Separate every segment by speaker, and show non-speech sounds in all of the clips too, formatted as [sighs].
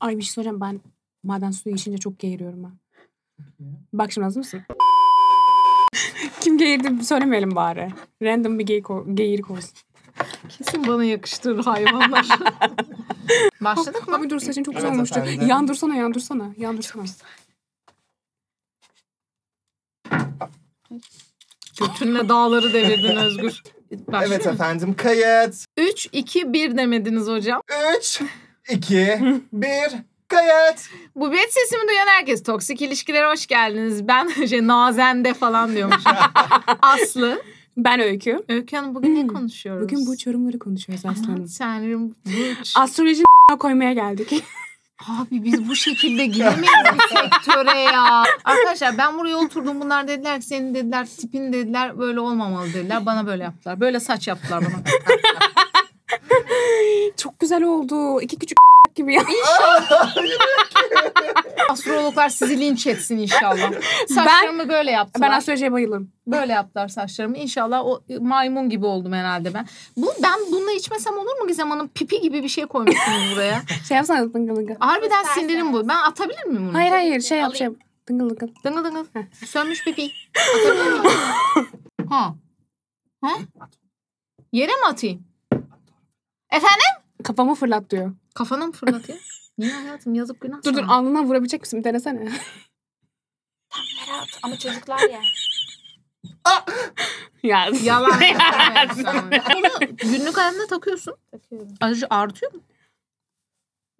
Speaker 1: Ay bir şey soracağım ben maden suyu içince çok geğiriyorum ben.
Speaker 2: Ya.
Speaker 1: Bak şimdi hazır mısın? [laughs] Kim geğirdi bir söylemeyelim bari. Random bir geyik o- geyirik olsun.
Speaker 3: Kesin bana
Speaker 1: [laughs]
Speaker 3: yakıştırır hayvanlar. Başladık mı?
Speaker 1: Abi dur saçın çok
Speaker 2: Evet
Speaker 1: güzel olmuştu.
Speaker 2: efendim.
Speaker 1: Yandursana yandursana. Yandursana.
Speaker 3: Götünle dağları devirdin Özgür. Başlıyor
Speaker 2: Evet
Speaker 3: mu?
Speaker 2: efendim kayıt.
Speaker 3: 3, 2, 1 demediniz hocam.
Speaker 2: 3, 2, 1, kayıt.
Speaker 3: Bu bet sesimi duyan herkes toksik ilişkilere hoş geldiniz. Ben [laughs] şey, nazende falan
Speaker 2: [laughs]
Speaker 3: diyormuşum. Aslı.
Speaker 1: Ben Öykü.
Speaker 3: Öykü Hanım bugün ne
Speaker 1: Hmm.
Speaker 3: konuşuyoruz?
Speaker 1: Bugün burç yorumları konuşuyoruz aslanım.
Speaker 3: Tanrım burç.
Speaker 1: Astrolojinin [laughs] koymaya geldik. [laughs]
Speaker 3: Abi biz bu
Speaker 2: [laughs]
Speaker 3: şekilde giremeyiz bir sektöre ya. Arkadaşlar ben buraya oturdum bunlar dediler ki senin dediler tipin dediler böyle olmamalı dediler. Bana böyle yaptılar. Böyle saç yaptılar bana.
Speaker 1: çok güzel oldu. İki küçük [laughs] gibi ya.
Speaker 3: Astrologlar sizi linç etsin inşallah. Saçlarımı böyle yaptılar.
Speaker 1: Ben astrolojiye bayılırım.
Speaker 3: Böyle yaptılar saçlarımı. İnşallah o e, maymun gibi oldum herhalde ben. Bu ben bununla içmesem olur mu Gizem Hanım? Pipi gibi bir şey koymuşsunuz buraya.
Speaker 1: [laughs] Şey yapsana dıngıl dıngıl.
Speaker 3: Harbiden
Speaker 4: Göstersen.
Speaker 3: sinirim bu. Ben atabilir miyim bunu?
Speaker 1: Hayır hayır şey yap şey yap. Dıngıl dıngıl.
Speaker 3: Dıngıl dıngıl. Sönmüş pipi. Atabilir miyim?
Speaker 1: [laughs]
Speaker 3: ha. Ha? Yere mi atayım? Efendim?
Speaker 1: Kafamı fırlat diyor.
Speaker 3: Kafana
Speaker 1: [laughs]
Speaker 3: mı fırlatayım? Niye hayatım yazık günah
Speaker 1: Dur dur
Speaker 3: sana.
Speaker 1: alnından vurabilecek misin? Bir Denesene. [laughs]
Speaker 4: Berat ama çocuklar ya.
Speaker 1: ya. [laughs]
Speaker 3: Yalan. Bunu günlük hayatında takıyorsun.
Speaker 4: Takıyorum.
Speaker 3: Acı artıyor mu?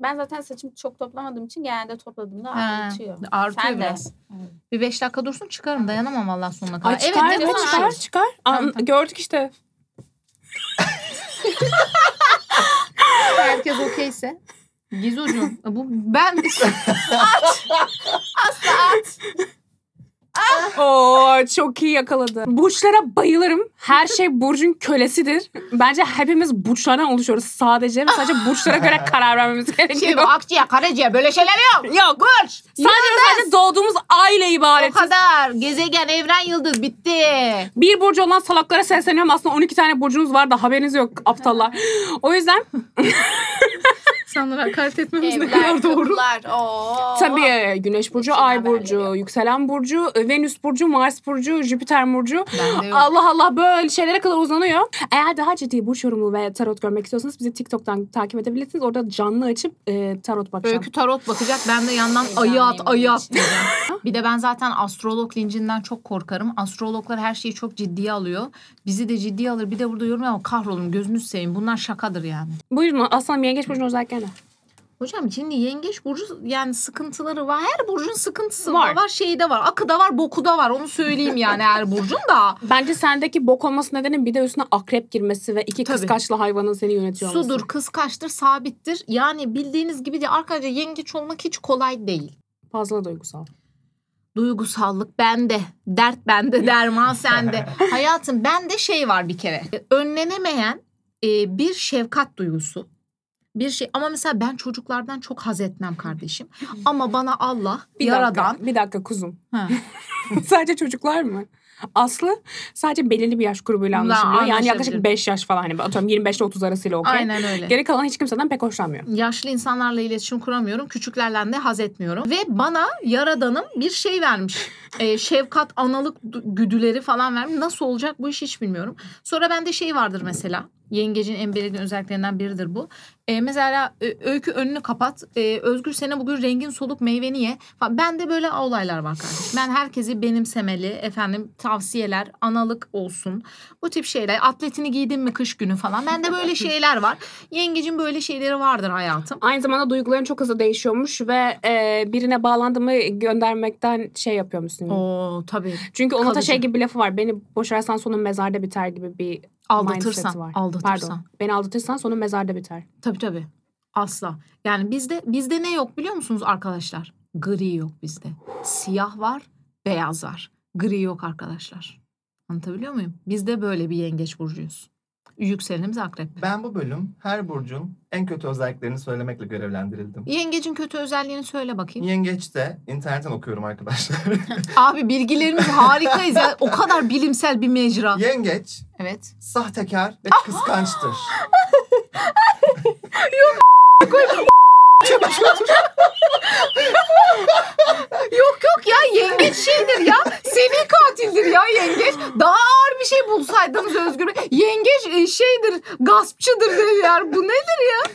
Speaker 4: Ben zaten saçımı çok toplamadığım için genelde topladığımda
Speaker 3: Ha,
Speaker 4: artıyor.
Speaker 3: Artıyor
Speaker 4: Sen de.
Speaker 3: biraz. Bir beş dakika dursun çıkarım. Dayanamam Allah sonuna kadar.
Speaker 1: Ay çıkar
Speaker 3: evet,
Speaker 1: mı?
Speaker 3: devam.
Speaker 1: çıkar çıkar. An-
Speaker 3: Tamam, tamam.
Speaker 1: Gördük işte.
Speaker 3: Herkes okeyse. Gizucuğum e, bu ben
Speaker 1: Oo çok iyi yakaladı. Burçlara bayılırım. Her şey burcun kölesidir. Bence hepimiz burçlardan oluşuyoruz sadece. Ve sadece burçlara [laughs] göre karar vermemiz gerekiyor.
Speaker 3: şey bu akciğer, karaciğer böyle şeyler yok.
Speaker 1: Yok.
Speaker 3: Burç.
Speaker 1: Sadece ve sadece doğduğumuz aile
Speaker 3: O
Speaker 1: ibaretiz.
Speaker 3: kadar. Gezegen, evren, yıldız bitti.
Speaker 1: Bir burcu olan salaklara sesleniyorum. Aslında 12 tane burcunuz var da haberiniz yok aptallar. O yüzden
Speaker 3: Sanırım hakaret etmemiz
Speaker 4: Evler, kapılar. Oo.
Speaker 1: tabii e, Güneş burcu,
Speaker 4: Hepsinden
Speaker 1: Ay burcu,
Speaker 4: haberleri
Speaker 1: yükselen burcu, e, Venüs burcu, Mars burcu, Jüpiter burcu.
Speaker 3: Bende yok.
Speaker 1: Allah Allah böyle şeylere kadar uzanıyor. Eğer daha ciddi burç yorumu ve tarot görmek istiyorsanız bizi TikTok'tan takip edebilirsiniz. Orada canlı açıp e, tarot bakacağım.
Speaker 3: Öykü tarot bakacak. Ben de yandan ayı at, ayı at [laughs] diyeceğim. bir de ben zaten astrolog lincinden çok korkarım. Astrologlar her şeyi çok ciddiye alıyor. Bizi de ciddiye alır. Bir de burada yorum ama kahrolun gözünüz seveyim. Bunlar şakadır yani.
Speaker 1: Buyurun aslanım yengeç burcunun özellikleri ne?
Speaker 3: Hocam şimdi yengeç burcu yani sıkıntıları var. Her burcun sıkıntısı
Speaker 1: Var.
Speaker 3: var. Var şeyi de var. Akı da var, boku da var. Onu söyleyeyim yani [laughs] her burcun da.
Speaker 1: Bence sendeki bok olması nedeni bir de üstüne akrep girmesi ve iki
Speaker 3: Tabii.
Speaker 1: kıskaçlı hayvanın seni yönetiyor olması.
Speaker 3: Sudur, kıskaçtır, sabittir. Yani bildiğiniz gibi de arkadaşlar yengeç olmak hiç kolay değil.
Speaker 1: Fazla duygusal.
Speaker 3: Duygusallık bende, dert bende, derman
Speaker 1: [laughs]
Speaker 3: sende. Hayatım bende şey var bir kere. Önlenemeyen e, bir şefkat duygusu. Bir şey ama mesela ben çocuklardan çok haz etmem kardeşim. Ama bana Allah
Speaker 1: Bir
Speaker 3: yaradan
Speaker 1: dakika, bir dakika kuzum. [laughs]
Speaker 3: Ha.
Speaker 1: sadece çocuklar mı? Aslı sadece belirli bir yaş grubuyla
Speaker 3: Bunlar
Speaker 1: anlaşılıyor. Yani
Speaker 3: anlaşabilir.
Speaker 1: yaklaşık 5 yaş falan hani atıyorum 25 ile 30 arasıyla okey.
Speaker 3: aynen öyle.
Speaker 1: Geri kalan hiç kimseden pek hoşlanmıyor.
Speaker 3: yaşlı insanlarla iletişim kuramıyorum. Küçüklerle de haz etmiyorum. Ve bana yaradanım bir şey vermiş. Ee, şefkat, analık du- güdüleri falan vermiş. Nasıl olacak bu iş hiç bilmiyorum. Sonra bende şey vardır mesela. Yengecin en belirgin özelliklerinden biridir bu. Ee, mesela Ö- öykü önünü kapat. Ee, Özgür sene bugün rengin soluk meyveni ye. Falan. Bende böyle olaylar var kardeşim. Ben herkesi benimsemeli. Efendim tavsiyeler, analık olsun. Bu tip şeyler. Atletini giydin mi kış günü falan. Bende böyle şeyler var. Yengecin böyle şeyleri vardır hayatım.
Speaker 1: Aynı zamanda duyguların çok hızlı değişiyormuş ve e, birine bağlandığımı göndermekten şey yapıyormuşsun.
Speaker 3: Oo tabii.
Speaker 1: Çünkü onun da
Speaker 3: kalıcı.
Speaker 1: şey gibi bir lafı var. Beni boşarsan sonun mezarda biter gibi bir mindset'i
Speaker 3: Aldatırsan.
Speaker 1: var.
Speaker 3: Aldatırsan.
Speaker 1: Pardon. Beni aldatırsan sonun mezarda biter.
Speaker 3: Tabii tabii. Asla. Yani bizde bizde ne yok biliyor musunuz arkadaşlar? Gri yok bizde. Siyah var, beyaz var. Gri yok arkadaşlar. Anlatabiliyor muyum? Biz de böyle bir yengeç burcuyuz. Yükselenimiz akrep.
Speaker 2: Ben bu bölüm her burcun en kötü özelliklerini söylemekle görevlendirildim.
Speaker 3: Yengecin kötü özelliğini söyle bakayım.
Speaker 2: Yengeç'te internetten okuyorum arkadaşlar.
Speaker 3: Abi bilgilerimiz harikayız ya. O kadar bilimsel bir mecra.
Speaker 2: Yengeç
Speaker 3: Evet.
Speaker 2: sahtekar ve kıskançtır.
Speaker 3: saydığınız şey Özgür Bey. Yengeç e, şeydir, gaspçıdır dediler. Bu ne?
Speaker 2: Diğer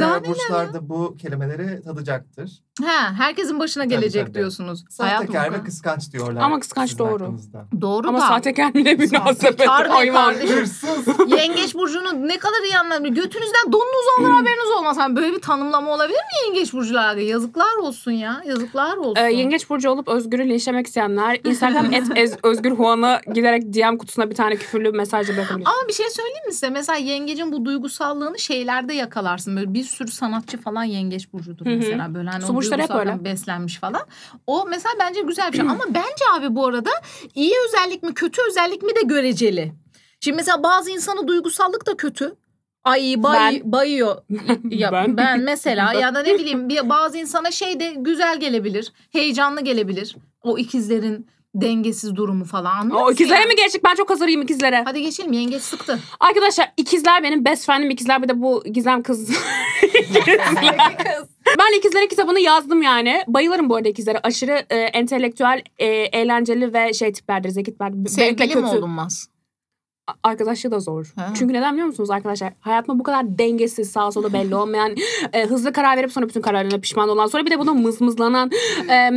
Speaker 3: Daha neler
Speaker 2: burçlarda bu kelimeleri tadacaktır.
Speaker 3: Ha, herkesin başına gelecek
Speaker 2: tabii.
Speaker 3: diyorsunuz. Hayat
Speaker 2: Sahtekar
Speaker 3: bu
Speaker 2: ve kıskanç diyorlar.
Speaker 1: Ama kıskanç
Speaker 2: sizin
Speaker 1: doğru.
Speaker 2: hakkınızda.
Speaker 3: kadar. Doğru
Speaker 1: Ama
Speaker 3: da.
Speaker 1: sahtekar bile münasebet.
Speaker 3: Sahtekar ne
Speaker 1: Hayvan. [laughs]
Speaker 3: kardeşim?
Speaker 2: Hırsız.
Speaker 3: Yengeç burcunun ne kadar iyi anlamlı. Götünüzden donunuz olur haberiniz olmaz. Hani böyle bir tanımlama olabilir mi yengeç burcularda? Yazıklar olsun ya. Yazıklar olsun.
Speaker 1: Ee, yengeç burcu olup Özgür'ü linçlemek isteyenler Instagram et
Speaker 3: [laughs]
Speaker 1: ez- Özgür Huan'a giderek DM kutusuna bir tane küfürlü mesaj bırakabilir.
Speaker 3: Ama bir şey söyleyeyim mi size? Mesela yengecin bu duygusallığını şeylerde yakalarsın. Böyle bir sürü sanatçı falan yengeç burcudur
Speaker 1: Hı hı.
Speaker 3: mesela. Böyle hani
Speaker 1: Su
Speaker 3: o
Speaker 1: burçları hep
Speaker 3: duygusallıktan
Speaker 1: öyle.
Speaker 3: beslenmiş falan. O mesela bence güzel bir şey.
Speaker 1: [clears throat]
Speaker 3: Ama bence abi bu arada iyi özellik mi kötü özellik mi de göreceli. Şimdi mesela bazı insanı duygusallık da kötü. Ay bay,
Speaker 1: [laughs]
Speaker 3: bayıyor. Ya
Speaker 1: Ben.
Speaker 3: ben, mesela ya
Speaker 1: [laughs]
Speaker 3: da ne bileyim bir- bazı insana şey de güzel gelebilir. Heyecanlı gelebilir. O ikizlerin dengesiz durumu falan. anlıyor
Speaker 1: O
Speaker 3: musun
Speaker 1: ikizlere
Speaker 3: yani?
Speaker 1: mi geçtik? Ben çok hazırım ikizlere.
Speaker 3: Hadi geçelim yengeç sıktı.
Speaker 1: Arkadaşlar ikizler benim best friend'im. İkizler bir de bu Gizem kız. [laughs]
Speaker 4: Kız.
Speaker 1: ben ikizlere kitabını yazdım yani. Bayılırım bu arada ikizlere. Aşırı e, entelektüel, e, eğlenceli ve şey tiplerdir. Zeki tiplerdir. Benimle
Speaker 3: Sevgili mi
Speaker 1: kötü.
Speaker 3: olunmaz?
Speaker 1: arkadaşlığı da zor.
Speaker 3: Ha.
Speaker 1: Çünkü neden biliyor musunuz arkadaşlar? Hayatımda bu kadar dengesiz, sağa sola belli olmayan, e, hızlı karar verip sonra bütün kararlarına pişman olan, sonra bir de buna mızmızlanan e,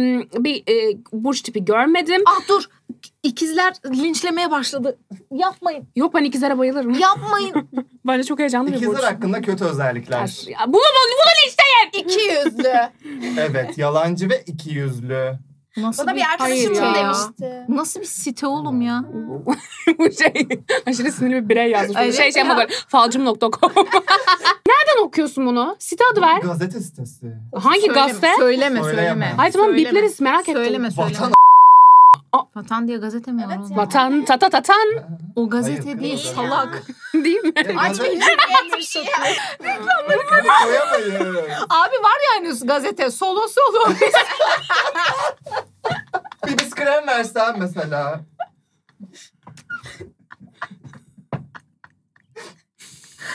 Speaker 1: bir e, burç tipi görmedim.
Speaker 3: Ah dur. İkizler linçlemeye başladı. Yapmayın.
Speaker 1: Yok ben ikizlere bayılırım.
Speaker 3: [laughs] Yapmayın.
Speaker 1: Bence çok heyecanlı bir burç. şey.
Speaker 2: İkizler hakkında kötü özellikler.
Speaker 1: Ya Bunu bunu
Speaker 4: İki
Speaker 1: [laughs]
Speaker 4: yüzlü.
Speaker 2: Evet, yalancı ve ikiyüzlü.
Speaker 3: Nasıl
Speaker 4: Bana bir arkadaşım
Speaker 1: Hayır
Speaker 4: bunu
Speaker 1: ya.
Speaker 4: demişti.
Speaker 3: Nasıl bir site oğlum ya?
Speaker 1: bu [laughs] şey aşırı sinirli bir birey yazmış.
Speaker 3: Evet
Speaker 1: şey şey ama
Speaker 3: ya.
Speaker 1: böyle
Speaker 3: [laughs]
Speaker 1: falcım.com. Nereden okuyorsun bunu? Site adı ver.
Speaker 2: Gazete sitesi.
Speaker 1: Hangi
Speaker 3: Söyleme,
Speaker 1: gazete?
Speaker 3: Söyleme söyleme.
Speaker 2: Söyleyemem.
Speaker 1: Hayır tamam
Speaker 3: Söyleme.
Speaker 1: bipleriz merak ettim.
Speaker 3: Söyleme söyleme.
Speaker 2: Vatan
Speaker 3: Vatan diye gazete mi var
Speaker 4: Evet
Speaker 3: oğlum?
Speaker 4: ya.
Speaker 1: Vatan tata tatan
Speaker 3: O gazete
Speaker 2: Hayır,
Speaker 3: değil
Speaker 2: kız.
Speaker 3: salak.
Speaker 1: [laughs]
Speaker 2: [laughs]
Speaker 1: değil mi?
Speaker 4: Aç bir
Speaker 2: Gazete
Speaker 4: cümleyi satıyor.
Speaker 2: koyamayız.
Speaker 3: Abi var ya henüz gazete solo solo.
Speaker 2: Bir biz krem versen mesela.
Speaker 3: [laughs]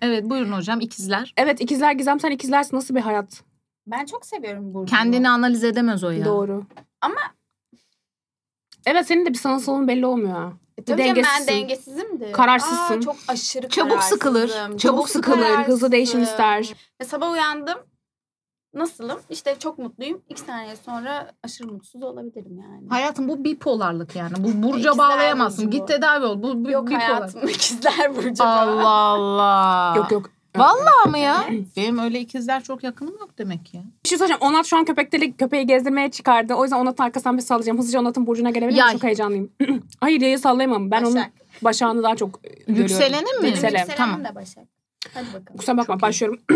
Speaker 3: evet buyurun hocam ikizler.
Speaker 1: Evet ikizler Gizem sen ikizlersin nasıl bir hayat?
Speaker 4: Ben çok seviyorum Burcu'nu.
Speaker 3: Kendini analiz edemez o ya.
Speaker 1: Doğru.
Speaker 4: Ama-
Speaker 1: Evet senin de bir sana solun belli olmuyor. ha.
Speaker 4: E, tabii canım,
Speaker 1: dengesizsin.
Speaker 4: ben dengesizimdi.
Speaker 1: Kararsızsın.
Speaker 4: Aa, çok aşırı
Speaker 3: Çabuk sıkılır.
Speaker 4: kararsızım.
Speaker 1: Çabuk sıkılır, hızlı değişim
Speaker 4: kararsızım.
Speaker 1: ister.
Speaker 4: Ve sabah uyandım. Nasılım? İşte çok mutluyum. İki saniye sonra aşırı mutsuz olabilirim yani.
Speaker 3: Hayatım bu bipolarlık yani. Bu burca
Speaker 4: İkizler
Speaker 3: bağlayamazsın.
Speaker 4: burcu bu.
Speaker 3: Git tedavi ol. E, Bu, bu
Speaker 4: Yok
Speaker 3: bipolar.
Speaker 4: hayatım [laughs] ikizler Burcu.
Speaker 3: Allah Allah.
Speaker 1: Yok yok.
Speaker 3: Vallahi mı ya? Benim öyle ikizler çok yakınım yok demek ki.
Speaker 1: Bir şey söyleyeceğim. Onat şu an köpekleri köpeği gezdirmeye çıkardı. O yüzden Onat'ın arkasından bir sallayacağım. Hızlıca Onat'ın burcuna gelebilir miyim?
Speaker 3: Yay.
Speaker 1: Çok heyecanlıyım. [clears throat] Hayır yayı sallayamam. Ben onun
Speaker 4: Başak.
Speaker 1: başağını daha çok e, görüyorum.
Speaker 3: Yükselenin mi?
Speaker 4: Benim
Speaker 1: Yükselen.
Speaker 4: yükselenim
Speaker 3: Tamam.
Speaker 4: de Başak. Hadi bakalım.
Speaker 1: Kusura bakma başlıyorum. [clears throat]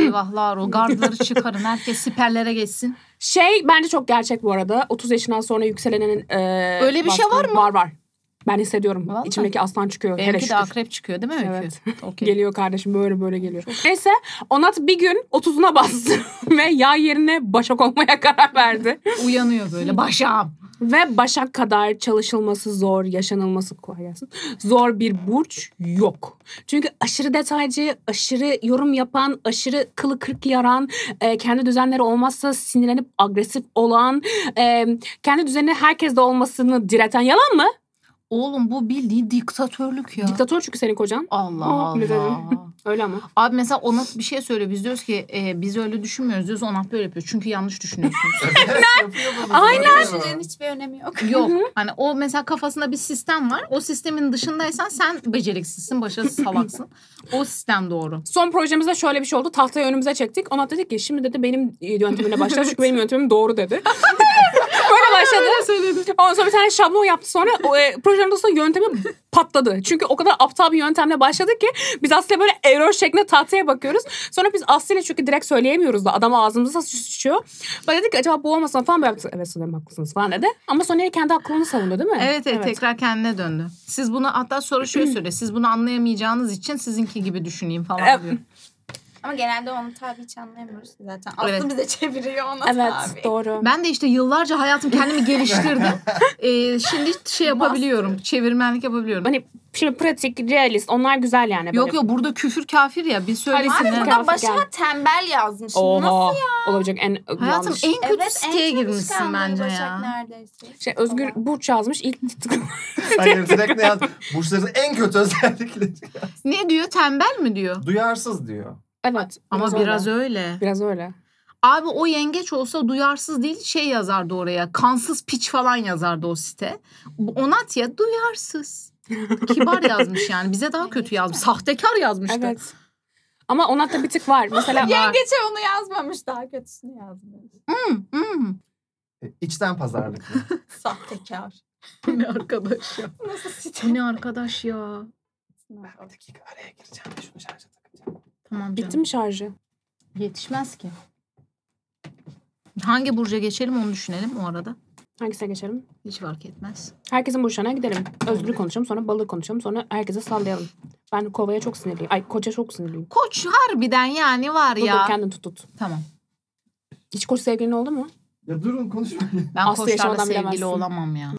Speaker 3: Eyvahlar
Speaker 1: [laughs]
Speaker 3: o gardları çıkarın. Herkes siperlere geçsin.
Speaker 1: Şey bence çok gerçek bu arada. 30 yaşından sonra yükselenin e,
Speaker 3: Öyle bir şey var mı?
Speaker 1: Var var. Ben hissediyorum.
Speaker 3: Vallahi.
Speaker 1: İçimdeki aslan çıkıyor. Hele
Speaker 3: Benimki de
Speaker 1: şükür.
Speaker 3: akrep çıkıyor değil mi Öykü?
Speaker 1: Evet.
Speaker 3: Okey.
Speaker 1: Geliyor kardeşim böyle böyle geliyor. Neyse Onat bir gün 30'una bastı [laughs] ve yay yerine başak olmaya [laughs] karar verdi.
Speaker 3: Uyanıyor böyle başam.
Speaker 1: ve başak kadar çalışılması zor, yaşanılması kolay gelsin. Zor bir burç yok. Çünkü aşırı detaycı, aşırı yorum yapan, aşırı kılı kırk yaran, e, kendi düzenleri olmazsa sinirlenip agresif olan, e, kendi düzeni herkeste olmasını direten yalan mı?
Speaker 3: Oğlum bu bildiğin diktatörlük ya.
Speaker 1: Diktatör çünkü senin kocan.
Speaker 3: Allah
Speaker 1: Aa, ne
Speaker 3: Allah.
Speaker 1: Öyle mi?
Speaker 3: Abi mesela ona bir şey söylüyor. Biz diyoruz ki e, biz öyle düşünmüyoruz diyoruz. Onat böyle yapıyor. Çünkü yanlış düşünüyorsunuz.
Speaker 1: [laughs]
Speaker 2: [laughs]
Speaker 1: Aynen.
Speaker 4: Düşüncenin hiçbir önemi yok.
Speaker 3: Yok. Hani o mesela kafasında bir sistem var. O sistemin dışındaysan sen beceriksizsin,
Speaker 1: [laughs]
Speaker 3: başarısız salaksın. O sistem doğru.
Speaker 1: Son projemizde şöyle bir şey oldu. Tahtayı önümüze çektik. Ona dedi ki şimdi dedi benim yöntemimle başla. Çünkü benim yöntemim doğru
Speaker 3: [laughs]
Speaker 1: dedi. Böyle başladı. Ondan sonra bir tane şablon yaptı. Sonra o, e, projenin dolayısıyla yöntemi patladı. Çünkü o kadar aptal bir yöntemle başladı ki biz aslında böyle error şeklinde tahtaya bakıyoruz. Sonra biz Aslı'yla çünkü direkt söyleyemiyoruz da adam ağzımıza sıçıyor. Ben dedik ki acaba bu olmasın falan böyle yaptı. Evet sanırım haklısınız falan dedi. Ama sonra yine kendi aklını savundu değil mi?
Speaker 3: Evet, evet tekrar kendine döndü. Siz bunu hatta soru şöyle söyle. Siz bunu anlayamayacağınız için sizinki gibi düşüneyim falan
Speaker 1: Evet.
Speaker 3: diyor.
Speaker 4: Ama genelde onu tabi hiç anlayamıyoruz ki zaten.
Speaker 3: Evet.
Speaker 4: Aslı bize çeviriyor ona
Speaker 1: Evet
Speaker 4: tabi.
Speaker 1: doğru.
Speaker 3: Ben de işte yıllarca hayatım kendimi geliştirdim. Ee, şimdi şey yapabiliyorum. Çevirmenlik yapabiliyorum.
Speaker 1: Hani şimdi pratik, realist onlar güzel yani. Böyle.
Speaker 3: Yok yok burada küfür kafir ya. Bir söylesin.
Speaker 1: Abi
Speaker 4: Abi
Speaker 1: Sinir
Speaker 4: burada
Speaker 1: kafası
Speaker 4: başa
Speaker 1: geldi.
Speaker 4: tembel yazmış.
Speaker 1: Oha.
Speaker 4: Nasıl?
Speaker 1: Olabilecek en
Speaker 3: Hayatım
Speaker 1: yanlış.
Speaker 3: en kötü
Speaker 4: Evet en
Speaker 3: siteye
Speaker 4: çok
Speaker 3: girmişsin
Speaker 4: kıskandığı
Speaker 3: bence
Speaker 4: Başak
Speaker 3: ya.
Speaker 4: neredeyse.
Speaker 1: Şey, Özgür Burç yazmış ilk [laughs]
Speaker 2: Hayır direkt ne yaz? Burçların en kötü özellikleri.
Speaker 3: Ne diyor? Tembel mi diyor?
Speaker 2: Duyarsız diyor.
Speaker 1: Evet.
Speaker 3: Ama biraz
Speaker 1: öyle.
Speaker 3: öyle.
Speaker 1: Biraz öyle.
Speaker 3: Abi o yengeç olsa duyarsız değil şey yazardı oraya. Kansız piç falan yazardı o site. Bu Onatya duyarsız. Kibar yazmış yani. Bize daha kötü yazmış. Sahtekar yazmıştı. [laughs]
Speaker 1: Evet. Ama ona da bir tık var. Mesela
Speaker 4: Yengeç'e onu yazmamış daha kötüsünü yazmış.
Speaker 3: Hmm.
Speaker 2: E, İçten pazarlıklı.
Speaker 4: Sahtekar.
Speaker 3: Bu ne arkadaş ya?
Speaker 4: Nasıl site?
Speaker 3: Bu ne arkadaş ya?
Speaker 2: bir dakika araya gireceğim de şunu şarja takacağım.
Speaker 3: Tamam
Speaker 1: bitti mi şarjı?
Speaker 3: Yetişmez ki. Hangi burca geçelim onu düşünelim o arada.
Speaker 1: Hangisine geçelim?
Speaker 3: Hiç fark etmez.
Speaker 1: Herkesin burçlarına gidelim. Özgür konuşalım sonra balık konuşalım sonra herkese sallayalım. Ben kovaya çok sinirliyim. Ay koça çok sinirliyim.
Speaker 3: Koç harbiden yani var
Speaker 1: Dur
Speaker 3: ya.
Speaker 1: dur kendini tut tut.
Speaker 3: Tamam.
Speaker 1: Hiç koç sevgilin oldu mu?
Speaker 2: Ya durun konuşmayın.
Speaker 3: Ben
Speaker 1: Aslı
Speaker 3: koçlarla
Speaker 1: yaşamadan
Speaker 3: sevgili
Speaker 1: bilemezsin.
Speaker 3: olamam ya.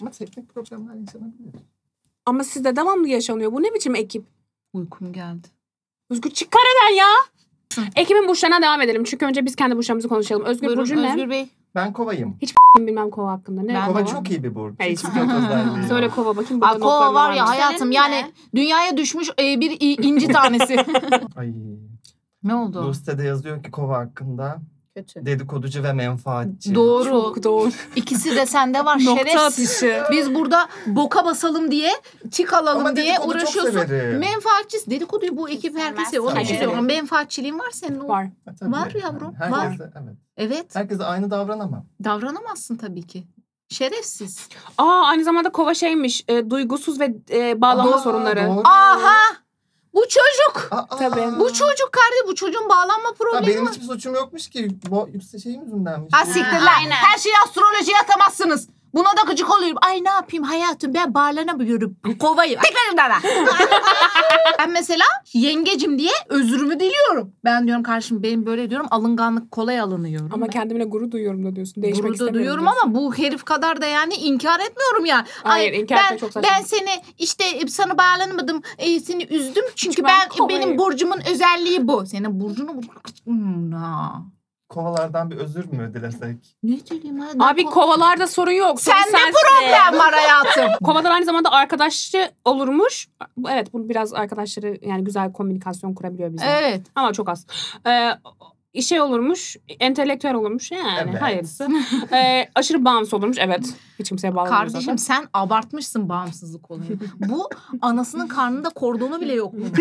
Speaker 2: Ama teknik problemler yaşanabilir.
Speaker 1: Ama sizde devamlı yaşanıyor. Bu ne biçim ekip?
Speaker 3: Uykum geldi.
Speaker 1: Özgür çık karadan ya. Ekibin burçlarına devam edelim. Çünkü önce biz kendi burçlarımızı konuşalım. Özgür
Speaker 3: Buyurun
Speaker 1: burcu ne?
Speaker 3: Özgür Bey.
Speaker 2: Ben kovayım.
Speaker 1: Bilmem kova hakkında. Ne
Speaker 3: Ben
Speaker 2: Kova
Speaker 1: kova?
Speaker 2: çok iyi bir burç.
Speaker 1: Hayır.
Speaker 2: Hiç
Speaker 3: şey
Speaker 2: kötü özelliği
Speaker 1: Söyle
Speaker 2: yok.
Speaker 1: kova bakayım. burada
Speaker 3: Aa, kova
Speaker 1: notlarım
Speaker 3: var ya
Speaker 1: mı?
Speaker 3: hayatım
Speaker 4: Senin
Speaker 3: yani dünyaya düşmüş e, bir i- inci tanesi.
Speaker 2: Ay.
Speaker 3: ne oldu?
Speaker 2: Bu sitede yazıyor ki kova hakkında
Speaker 4: Kötü.
Speaker 2: dedikoducu ve menfaatçi.
Speaker 3: Doğru.
Speaker 1: Çok doğru.
Speaker 3: [laughs] İkisi de sende var
Speaker 1: Nokta
Speaker 3: [laughs] şerefsiz.
Speaker 1: atışı.
Speaker 3: Biz burada boka basalım diye, tik alalım
Speaker 2: Ama
Speaker 3: diye
Speaker 2: dedikodu çok
Speaker 3: uğraşıyorsun.
Speaker 2: severim.
Speaker 3: Menfaatçi dedikoduyu bu ekip
Speaker 4: Sevmez.
Speaker 3: herkes seviyor. Onu
Speaker 2: Herkes
Speaker 3: çiziyor.
Speaker 1: seviyor.
Speaker 3: Menfaatçiliğin var senin. o-
Speaker 1: Var.
Speaker 2: Ha, E, tabii.
Speaker 3: Var yavrum,
Speaker 2: Yani
Speaker 3: var.
Speaker 2: herkese- evet.
Speaker 3: Evet.
Speaker 2: Herkese aynı davranamam.
Speaker 3: Davranamazsın tabii ki. Şerefsiz.
Speaker 1: Aa aynı zamanda kova şeymiş. e, duygusuz ve e, bağlanma
Speaker 2: Aa,
Speaker 1: sorunları.
Speaker 2: doğru.
Speaker 3: Aha! Bu çocuk.
Speaker 2: Aa,
Speaker 1: Tabii.
Speaker 3: Bu çocuk kardeş. Bu çocuğun bağlanma
Speaker 2: Ya
Speaker 3: problemi
Speaker 2: benim
Speaker 3: var.
Speaker 2: hiçbir suçum yokmuş ki. Bu şey yüksek şeyim yüzündenmiş.
Speaker 3: Ha siktir lan.
Speaker 4: Aynen.
Speaker 3: Her şeyi astrolojiye atamazsınız. Buna da gıcık oluyorum. Ay ne yapayım hayatım ben bağlanamıyorum. Kovayım. Tekrar dara.
Speaker 1: [laughs]
Speaker 3: ben mesela yengecim diye özrümü diliyorum. Ben diyorum karşım benim böyle diyorum alınganlık kolay alınıyorum.
Speaker 1: Ama kendimle gurur duyuyorum da diyorsun. Değişmek
Speaker 3: Burada
Speaker 1: istemiyorum
Speaker 3: duyuyorum
Speaker 1: diyorsun.
Speaker 3: ama bu herif kadar da yani inkar etmiyorum ya.
Speaker 1: Hayır,
Speaker 3: Ay,
Speaker 1: inkar
Speaker 3: ben,
Speaker 1: etmek çok saçma.
Speaker 3: Ben seni işte e, sana bağlanmadım e, seni üzdüm çünkü
Speaker 1: Çünkü
Speaker 3: ben,
Speaker 1: ben kovayım.
Speaker 3: benim burcumun özelliği bu. Senin burcunu Hmm, ha.
Speaker 2: Kovalardan bir özür mü dilesek?
Speaker 3: ne söyleyeyim hayatım?
Speaker 1: Abi kovalarda sorun yok. Sorun
Speaker 3: Sende
Speaker 1: sensin.
Speaker 3: problem var
Speaker 1: [laughs]
Speaker 3: hayatım.
Speaker 1: Kovalar aynı zamanda arkadaşçı olurmuş. Evet bu biraz arkadaşları yani güzel komünikasyon kurabiliyor bizimle.
Speaker 3: Evet.
Speaker 1: Ama çok az. Ee, şey olurmuş, entelektüel olurmuş yani.
Speaker 2: Evet.
Speaker 1: Hayırlısı. Ee, aşırı bağımsız olurmuş. Evet. Hiç kimseye bağlı
Speaker 3: Kardeşim sen abartmışsın bağımsızlık olayını. Bu anasının karnında kordonu bile yok. bunun.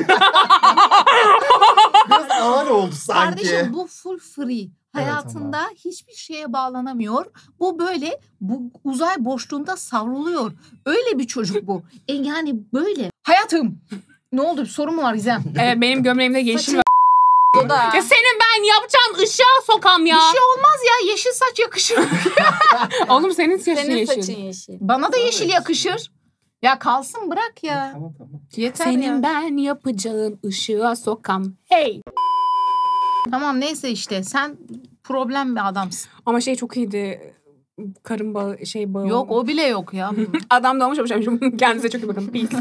Speaker 2: Biraz ağır oldu sanki.
Speaker 3: Kardeşim bu full free.
Speaker 2: Evet
Speaker 3: Hayatında hiçbir şeye bağlanamıyor. Bu böyle bu uzay boşluğunda savruluyor. Öyle bir çocuk bu. E yani böyle. Hayatım. Ne oldu? Bir sorun mu var Gizem?
Speaker 1: Evet benim gömleğimde yeşil var.
Speaker 4: O da.
Speaker 1: Ya senin ben yapacağım ışığa sokam ya.
Speaker 3: Bir şey olmaz ya. Yeşil saç yakışır.
Speaker 1: Oğlum senin saçın
Speaker 4: Senin
Speaker 1: yeşil.
Speaker 4: saçın yeşil.
Speaker 3: Bana da yeşil yakışır. Ya kalsın bırak ya.
Speaker 2: Tamam tamam.
Speaker 3: Yeter
Speaker 1: Senin
Speaker 3: ya.
Speaker 1: ben yapacağım ışığa sokam. Hey.
Speaker 3: Tamam neyse işte sen problem bir adamsın.
Speaker 1: Ama şey çok iyiydi. Karın bağı, şey bağı.
Speaker 3: Yok o bile yok ya.
Speaker 1: [laughs] Adam da olmuş olmuş. [laughs] Kendinize çok iyi bakın. Peace.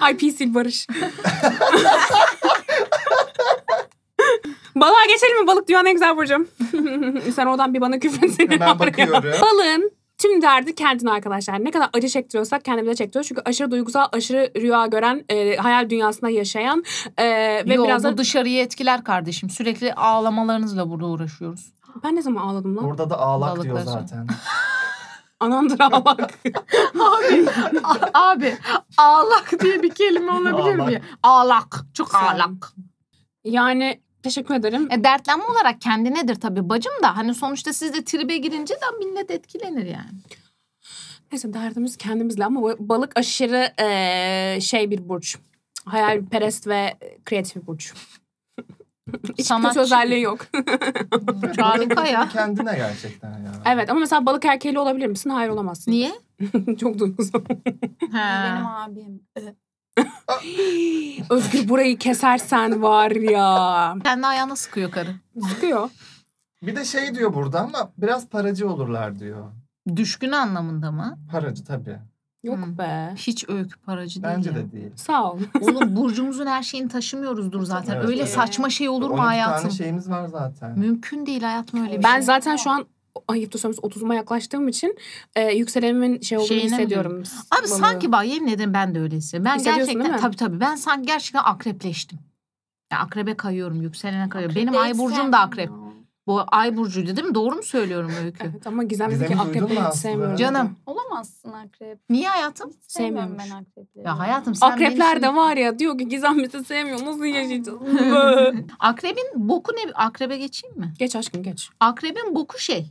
Speaker 1: Ay peace il barış. Balığa geçelim mi? Balık dünyanın en güzel burcu. [laughs] Sen oradan bir bana küfretsin.
Speaker 2: Hemen bakıyorum.
Speaker 1: Balığın tüm derdi kendine arkadaşlar. Ne kadar acı çektiriyorsak kendimize çektiriyoruz. Çünkü aşırı duygusal, aşırı rüya gören, e, hayal dünyasında yaşayan e, ve
Speaker 3: Yo,
Speaker 1: biraz
Speaker 3: bu
Speaker 1: da...
Speaker 3: dışarıya etkiler kardeşim. Sürekli ağlamalarınızla burada uğraşıyoruz.
Speaker 1: Ben ne zaman ağladım lan?
Speaker 2: Burada da ağlak
Speaker 3: Balıklar
Speaker 2: diyor
Speaker 3: sonra.
Speaker 2: zaten.
Speaker 1: Anandır [laughs] ağlak.
Speaker 3: [laughs] Abi, a- abi ağlak diye bir kelime olabilir mi? Ağlak. Çok ağlak.
Speaker 1: yani teşekkür ederim.
Speaker 3: E, dertlenme olarak kendi nedir tabii bacım da. Hani sonuçta siz de tribe girince de millet etkilenir yani.
Speaker 1: Neyse derdimiz kendimizle ama bu balık aşırı eee, şey bir burç. Hayalperest ve kreatif bir burç. Hiç
Speaker 3: Sanatçı.
Speaker 1: kötü özelliği yok.
Speaker 3: [laughs] Harika ya.
Speaker 2: Kendine gerçekten ya.
Speaker 1: evet ama mesela balık erkeğiyle olabilir misin? Hayır olamazsın.
Speaker 3: Niye?
Speaker 1: Çok duygusal.
Speaker 3: He.
Speaker 4: Benim abim. Ö.
Speaker 1: [gasps] Özgür burayı kesersen var ya.
Speaker 3: Kendi ayağına sıkıyor karı.
Speaker 1: Sıkıyor.
Speaker 2: Bir de şey diyor burada ama biraz paracı olurlar diyor.
Speaker 3: Düşkün anlamında mı?
Speaker 2: Paracı tabii.
Speaker 1: Yok
Speaker 3: Hmm.
Speaker 1: be.
Speaker 3: Hiç öykü paracı değil
Speaker 2: Bence
Speaker 3: ya.
Speaker 2: de değil.
Speaker 1: Sağ
Speaker 3: [laughs]
Speaker 1: ol.
Speaker 3: Oğlum burcumuzun her şeyini taşımıyoruzdur zaten.
Speaker 2: Evet,
Speaker 3: öyle
Speaker 2: evet.
Speaker 3: saçma şey olur
Speaker 2: 12
Speaker 3: mu hayatım?
Speaker 2: tane şeyimiz var zaten.
Speaker 3: Mümkün değil hayatım öyle bir
Speaker 1: Ben
Speaker 3: şey.
Speaker 1: zaten şu an ayıp da söylemesi 30'uma yaklaştığım için e, yükselenimin şey olduğunu
Speaker 3: Şeyine mi
Speaker 1: hissediyorum.
Speaker 3: Abi
Speaker 1: Balığı.
Speaker 3: sanki bak yemin ederim ben de öylesi. Ben
Speaker 1: Hissediyorsun değil
Speaker 3: gerçekten
Speaker 1: mi?
Speaker 3: tabii tabii ben sanki gerçekten akrepleştim. Ya akrebe kayıyorum, yükselene kayıyorum. Benim
Speaker 4: Akrep
Speaker 3: ay
Speaker 4: değil,
Speaker 3: burcum da
Speaker 4: sevmiyorum
Speaker 3: akrep.
Speaker 4: ya.
Speaker 3: Bu ay burcuydu değil mi? Doğru mu söylüyorum öykü?
Speaker 1: [laughs] Evet ama Gizem dedi ki
Speaker 2: Gizem'i duydun mu
Speaker 1: akrebi hiç
Speaker 2: aslında?
Speaker 1: sevmiyorum.
Speaker 3: Canım.
Speaker 4: Olamazsın akrep.
Speaker 3: Niye hayatım?
Speaker 4: Hiç sevmiyorum ben
Speaker 1: Sevmiyormuş.
Speaker 4: akrepleri.
Speaker 3: Ya hayatım sen beni
Speaker 1: Akrepler
Speaker 3: şimdi-
Speaker 1: de var ya diyor ki Gizem bizi sevmiyor nasıl
Speaker 3: [laughs]
Speaker 1: yaşayacağız? [laughs]
Speaker 3: Akrebin boku ne? Akrebe geçeyim mi?
Speaker 1: geç aşkım geç.
Speaker 3: Akrebin boku şey.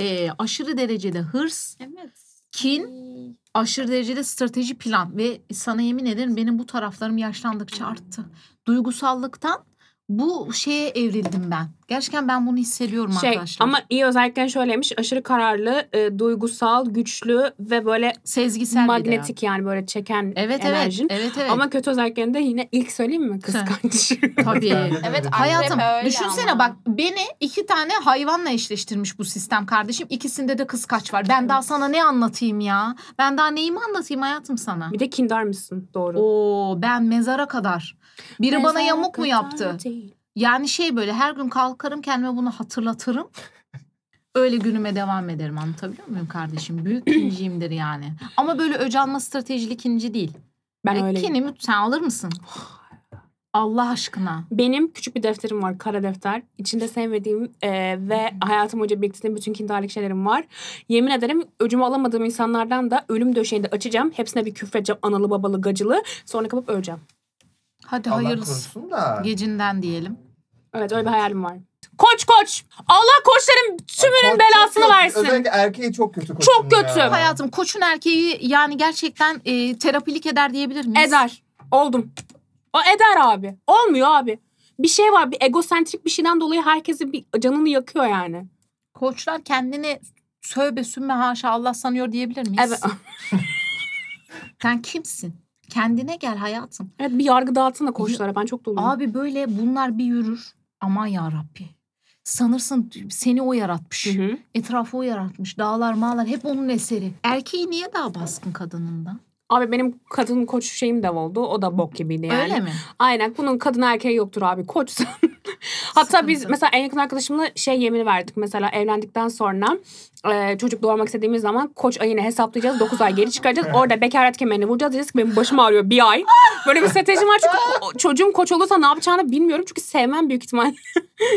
Speaker 3: Ee, aşırı derecede hırs,
Speaker 4: Evet.
Speaker 3: kin, aşırı derecede strateji plan ve sana yemin ederim benim bu taraflarım yaşlandıkça arttı. Duygusallıktan bu şeye evrildim ben. Gerçekten ben bunu hissediyorum
Speaker 1: Şey
Speaker 3: arkadaşlar.
Speaker 1: ama iyi özellikle şöyleymiş aşırı kararlı, e, duygusal, güçlü ve böyle
Speaker 3: sezgisel bir de
Speaker 1: magnetik yani böyle çeken
Speaker 3: yani. Evet evet.
Speaker 1: enerjin.
Speaker 3: Evet evet.
Speaker 1: Ama kötü özelliklerinde yine ilk söyleyeyim mi? Kıskanç.
Speaker 3: [laughs] tabii.
Speaker 4: Evet, ay-
Speaker 3: Hayatım
Speaker 4: Akrep öyle
Speaker 3: düşünsene
Speaker 4: ama.
Speaker 3: bak beni iki tane hayvanla eşleştirmiş bu sistem kardeşim. İkisinde de kıskaç var. Ben daha sana ne anlatayım ya? Ben daha neyimi anlatayım hayatım
Speaker 1: [laughs]
Speaker 3: sana?
Speaker 1: bir de kindar mısın? Doğru.
Speaker 3: Oo ben mezara kadar. Biri bana
Speaker 1: Mezara
Speaker 3: yamuk mu
Speaker 1: kadar
Speaker 3: yaptı?
Speaker 1: değil.
Speaker 3: Yani şey böyle her gün kalkarım kendime bunu
Speaker 1: [laughs]
Speaker 3: hatırlatırım. Öyle günüme devam ederim anlatabiliyor muyum
Speaker 1: [clears throat]
Speaker 3: kardeşim? Büyük kinciyimdir yani. Ama böyle öcanma stratejili kinci değil.
Speaker 1: Ben
Speaker 3: E,
Speaker 1: öyleyim.
Speaker 3: kinimi sen
Speaker 1: [sighs]
Speaker 3: alır mısın? Allah aşkına.
Speaker 1: Benim küçük bir defterim var. Kara defter. İçinde sevmediğim e, ve
Speaker 3: Hmm.
Speaker 1: hayatım boyunca biriktirdiğim bütün kindarlık şeylerim var. Yemin ederim öcümü alamadığım insanlardan da ölüm döşeğinde açacağım. Hepsine bir küfredeceğim. Analı babalı gacılı. Sonra kapıp öleceğim.
Speaker 3: Hadi
Speaker 2: Allah
Speaker 3: hayırlısı.
Speaker 2: korusun da.
Speaker 3: Gecinden diyelim.
Speaker 1: Evet öyle bir hayalim var. Koç koç. Allah koçların tümünün
Speaker 2: Koç
Speaker 1: belasını
Speaker 2: çok kötü.
Speaker 1: versin.
Speaker 2: Özellikle erkeği çok kötü koçum
Speaker 1: Çok kötü.
Speaker 2: Ya.
Speaker 3: Hayatım koçun erkeği yani gerçekten e, terapilik eder diyebilir miyiz?
Speaker 1: Eder. Oldum. O eder abi. Olmuyor abi. Bir şey var. Bir egosentrik bir şeyden dolayı herkesi bir canını yakıyor yani.
Speaker 3: Koçlar kendini sövbe sünme haşa Allah sanıyor diyebilir miyiz?
Speaker 1: Evet. [laughs]
Speaker 3: Sen kimsin? Kendine gel hayatım.
Speaker 1: Evet bir yargı dağıtsana koçlara. Ben çok doluyum.
Speaker 3: Abi böyle bunlar bir yürür. Aman ya Rabbi. Sanırsın seni o yaratmış.
Speaker 1: Hı hı.
Speaker 3: Etrafı o yaratmış. Dağlar mağlar hep onun eseri. Erkeği niye daha baskın kadınından?
Speaker 1: Abi benim kadın koç şeyim de oldu. O da bok gibiydi yani.
Speaker 3: Öyle mi?
Speaker 1: Aynen. Bunun kadın erkeği yoktur abi. Koçsun. [laughs] Hatta biz
Speaker 3: Sıkıntı.
Speaker 1: mesela en yakın arkadaşımla şey yemini verdik. Mesela evlendikten sonra e, çocuk doğurmak istediğimiz zaman koç ayını hesaplayacağız. 9 ay geri
Speaker 3: [laughs]
Speaker 1: çıkaracağız. Orada bekaret kemerini vuracağız. Diyeceğiz ki benim başım ağrıyor bir ay. Böyle bir stratejim var. Çünkü ko- çocuğum koç olursa ne yapacağını bilmiyorum. Çünkü sevmem büyük ihtimal. [laughs]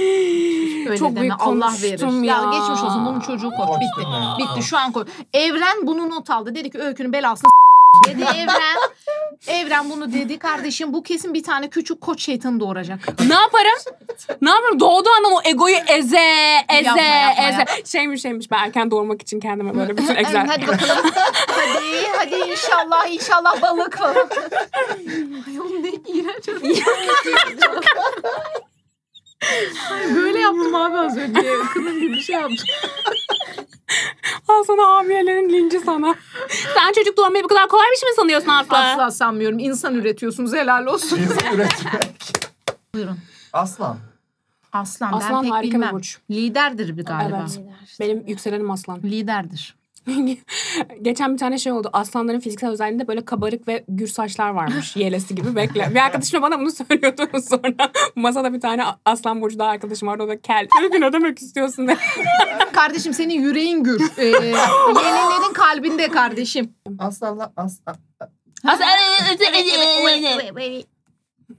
Speaker 3: Öyle
Speaker 1: Çok
Speaker 3: deme.
Speaker 1: büyük
Speaker 3: Allah verir.
Speaker 1: konuştum
Speaker 3: Ya.
Speaker 1: ya.
Speaker 3: geçmiş olsun bunun çocuğu koç.
Speaker 2: Koç
Speaker 3: Bitti.
Speaker 2: değil mi?
Speaker 3: Bitti şu an koç. Evren bunu not aldı. Dedi ki öykünün belasını s- dedi Evren. Evren bunu dedi kardeşim bu kesin bir tane küçük koç şeytanı doğuracak.
Speaker 1: ne yaparım? ne yaparım? Doğduğu anlam o egoyu eze, eze,
Speaker 3: Yapma, yapma,
Speaker 1: eze.
Speaker 3: yapma.
Speaker 1: Şeymiş şeymiş ben erken doğurmak için kendime böyle
Speaker 3: [laughs]
Speaker 1: bütün
Speaker 3: Evet,
Speaker 1: egzer.
Speaker 3: hadi bakalım. hadi hadi inşallah inşallah balık falan. Ay oğlum ne iğrenç. adam. Ay, Böyle yaptım abi az önce. Kının gibi bir şey yaptım.
Speaker 1: Al sana hamilelerin linci sana. Sen çocuk doğurmayı bu kadar kolay bir şey mi sanıyorsun Aslı?
Speaker 3: Asla sanmıyorum. İnsan üretiyorsunuz. Helal olsun.
Speaker 2: Biz üretmek.
Speaker 3: Buyurun.
Speaker 2: Aslan.
Speaker 3: Aslan,
Speaker 1: Aslan
Speaker 3: ben pek
Speaker 1: harika bir
Speaker 3: bilmem.
Speaker 1: burç.
Speaker 3: Liderdir bir galiba.
Speaker 1: Evet. Benim yükselenim aslan. [laughs]
Speaker 3: Liderdir.
Speaker 1: Geçen bir tane şey oldu. Aslanların fiziksel özelliğinde böyle kabarık ve gür saçlar [laughs] varmış. Yelesi gibi bekle. Bir arkadaşım bana bunu söylüyordu [laughs] sonra. Masada bir tane aslan burcu daha arkadaşım vardı. O da kel. Bir gün ödemek istiyorsun dedi.
Speaker 3: Kardeşim senin yüreğin gür. [laughs] Ee, yeğenlerin
Speaker 1: [laughs]
Speaker 3: kalbinde kardeşim.
Speaker 2: Aslanla aslan. [laughs]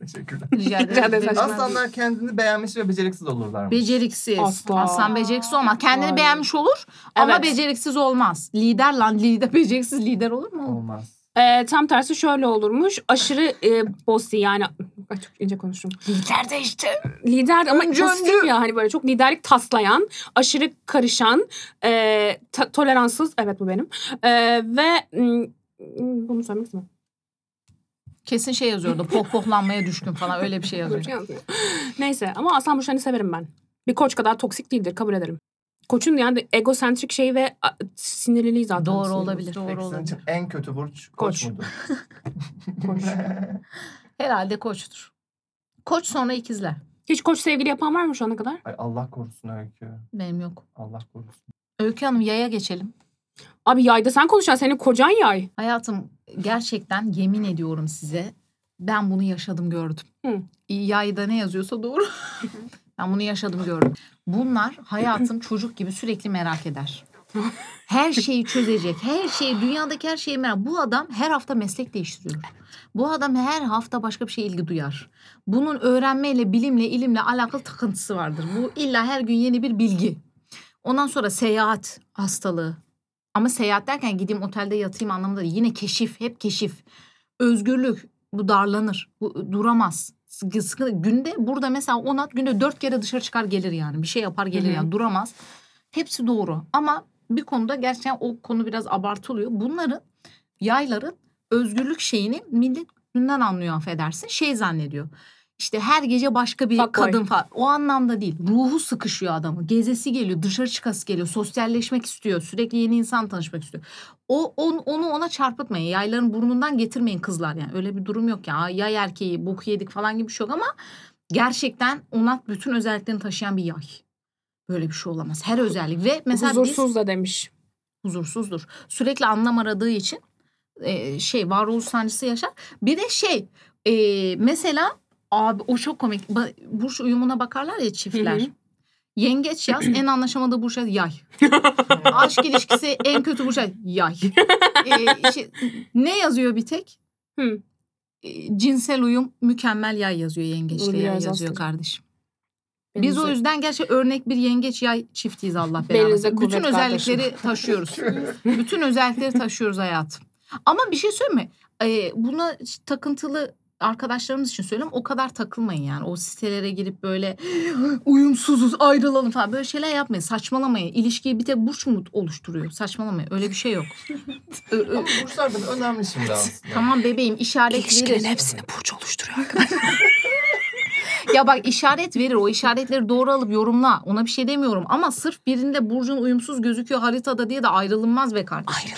Speaker 2: Teşekkürler.
Speaker 1: Rica
Speaker 3: Rica
Speaker 1: ederim.
Speaker 3: ederim.
Speaker 2: Aslanlar kendini beğenmiş ve beceriksiz olurlar.
Speaker 3: Beceriksiz.
Speaker 1: Asla.
Speaker 3: Aslan beceriksiz olmaz. Kendini
Speaker 1: Vay.
Speaker 3: beğenmiş olur ama
Speaker 1: Evet.
Speaker 3: beceriksiz olmaz. Lider lan lider [laughs] beceriksiz lider olur mu? oğlum?
Speaker 2: Olmaz.
Speaker 1: Ee, tam tersi şöyle olurmuş. Aşırı e, bossy yani. Ay, çok ince konuştum.
Speaker 3: Lider de işte.
Speaker 1: lider ama
Speaker 3: Önce
Speaker 1: pozitif ya hani böyle çok liderlik taslayan, aşırı karışan, e, ta- toleranssız evet bu benim E, ve m, m, bunu söylemek istemiyorum.
Speaker 3: Kesin şey yazıyordu. Pohpohlanmaya düşkün falan öyle bir şey
Speaker 1: Böyle bir
Speaker 3: yazıyordu.
Speaker 1: şey yazmıyor. Neyse ama Aslan Burçlarını severim ben. Bir koç kadar toksik değildir kabul ederim. koçun yani egosentrik şey ve a, sinirliliği zaten.
Speaker 3: Doğru olabilir.
Speaker 2: Peki
Speaker 3: Doğru
Speaker 2: senin
Speaker 3: olabilir.
Speaker 2: için en kötü burç koç,
Speaker 1: Koç.
Speaker 3: [laughs]
Speaker 2: muydu?
Speaker 1: Koç.
Speaker 3: Herhalde koçtur. Koç sonra ikizler.
Speaker 1: Hiç koç sevgili yapan var mı şu ana kadar?
Speaker 2: Ay Allah korusun Öykü.
Speaker 3: Benim yok.
Speaker 2: Allah korusun.
Speaker 3: Öykü Hanım yaya geçelim.
Speaker 1: Abi yayda sen konuşacaksın. Senin kocan yay.
Speaker 3: Hayatım gerçekten yemin ediyorum size ben bunu yaşadım gördüm.
Speaker 1: Hı.
Speaker 3: Yayda ne yazıyorsa doğru. ben bunu yaşadım gördüm. Bunlar hayatım çocuk gibi sürekli merak eder. Her şeyi çözecek. Her şeyi dünyadaki her şeyi merak. Bu adam her hafta meslek değiştiriyor. Bu adam her hafta başka bir şeye ilgi duyar. Bunun öğrenmeyle, bilimle, ilimle alakalı takıntısı vardır. Bu illa her gün yeni bir bilgi. Ondan sonra seyahat hastalığı. Ama seyahat derken gideyim otelde yatayım anlamında değil. Yine keşif, hep keşif. Özgürlük. Bu darlanır. Bu duramaz. Sıkı- sıkı- Günde burada mesela Onat günde dört kere dışarı çıkar gelir yani. Bir şey yapar gelir
Speaker 1: Hı hı.
Speaker 3: yani duramaz. Hepsi doğru. Ama bir konuda gerçekten o konu biraz abartılıyor. Bunların yayların özgürlük şeyini millet günden anlıyor affedersin. Şey zannediyor. İşte her gece başka bir
Speaker 1: Fuckboy.
Speaker 3: kadın falan. O anlamda değil. Ruhu sıkışıyor adamı. Gezesi geliyor, dışarı çıkası geliyor, sosyalleşmek istiyor. Sürekli yeni insan tanışmak istiyor. O on- onu ona çarpıtmayın. Yayların burnundan getirmeyin kızlar yani. Öyle bir durum yok ya. Aa, Yay erkeği bok yedik falan gibi bir şey yok ama gerçekten onat bütün özelliklerini taşıyan bir yay. Böyle bir şey olamaz. Her özellik ve mesela biz-
Speaker 1: Huzursuz da demiş.
Speaker 3: huzursuzdur. Sürekli anlam aradığı için e, şey varoluş sancısı yaşar. Bir de şey e, mesela abi o çok komik. Ba- burç uyumuna bakarlar ya çiftler.
Speaker 1: Hı hı.
Speaker 3: Yengeç yaz en anlaşamadığı burç
Speaker 1: [laughs]
Speaker 3: yaz yay. Aşk ilişkisi en kötü burç yaz yay. E, şey, ne yazıyor bir tek?
Speaker 1: Hı.
Speaker 3: E, cinsel uyum mükemmel yay yazıyor yengeçle
Speaker 1: Doğru,
Speaker 3: yay
Speaker 1: biraz
Speaker 3: yazıyor
Speaker 1: aslında.
Speaker 3: kardeşim.
Speaker 1: Benim
Speaker 3: Biz o
Speaker 1: de-
Speaker 3: yüzden gerçi örnek bir yengeç yay çiftiyiz Allah
Speaker 1: Belinize
Speaker 3: belanı.
Speaker 1: kuvvet
Speaker 3: Bütün
Speaker 1: kardeşim.
Speaker 3: özellikleri taşıyoruz. Bütün özellikleri taşıyoruz hayatım. Ama bir şey söyleyeyim mi? Ee, buna takıntılı arkadaşlarımız için söylüyorum. O kadar takılmayın yani. O sitelere girip böyle uyumsuzuz ayrılalım falan. Böyle şeyler yapmayın. Saçmalamayın. İlişkiyi bir tek burç mu oluşturuyor? Saçmalamayın. Öyle bir şey yok. Ö- ö-
Speaker 2: Ama burçlar da önemli şimdi aslında.
Speaker 3: tamam bebeğim işaret
Speaker 1: İlişkinin
Speaker 3: verir.
Speaker 1: hepsini burç oluşturuyor.
Speaker 3: Ya bak işaret verir. O işaretleri doğru alıp yorumla. Ona bir şey demiyorum. Ama sırf birinde burcun uyumsuz gözüküyor haritada diye de ayrılınmaz be kardeşim.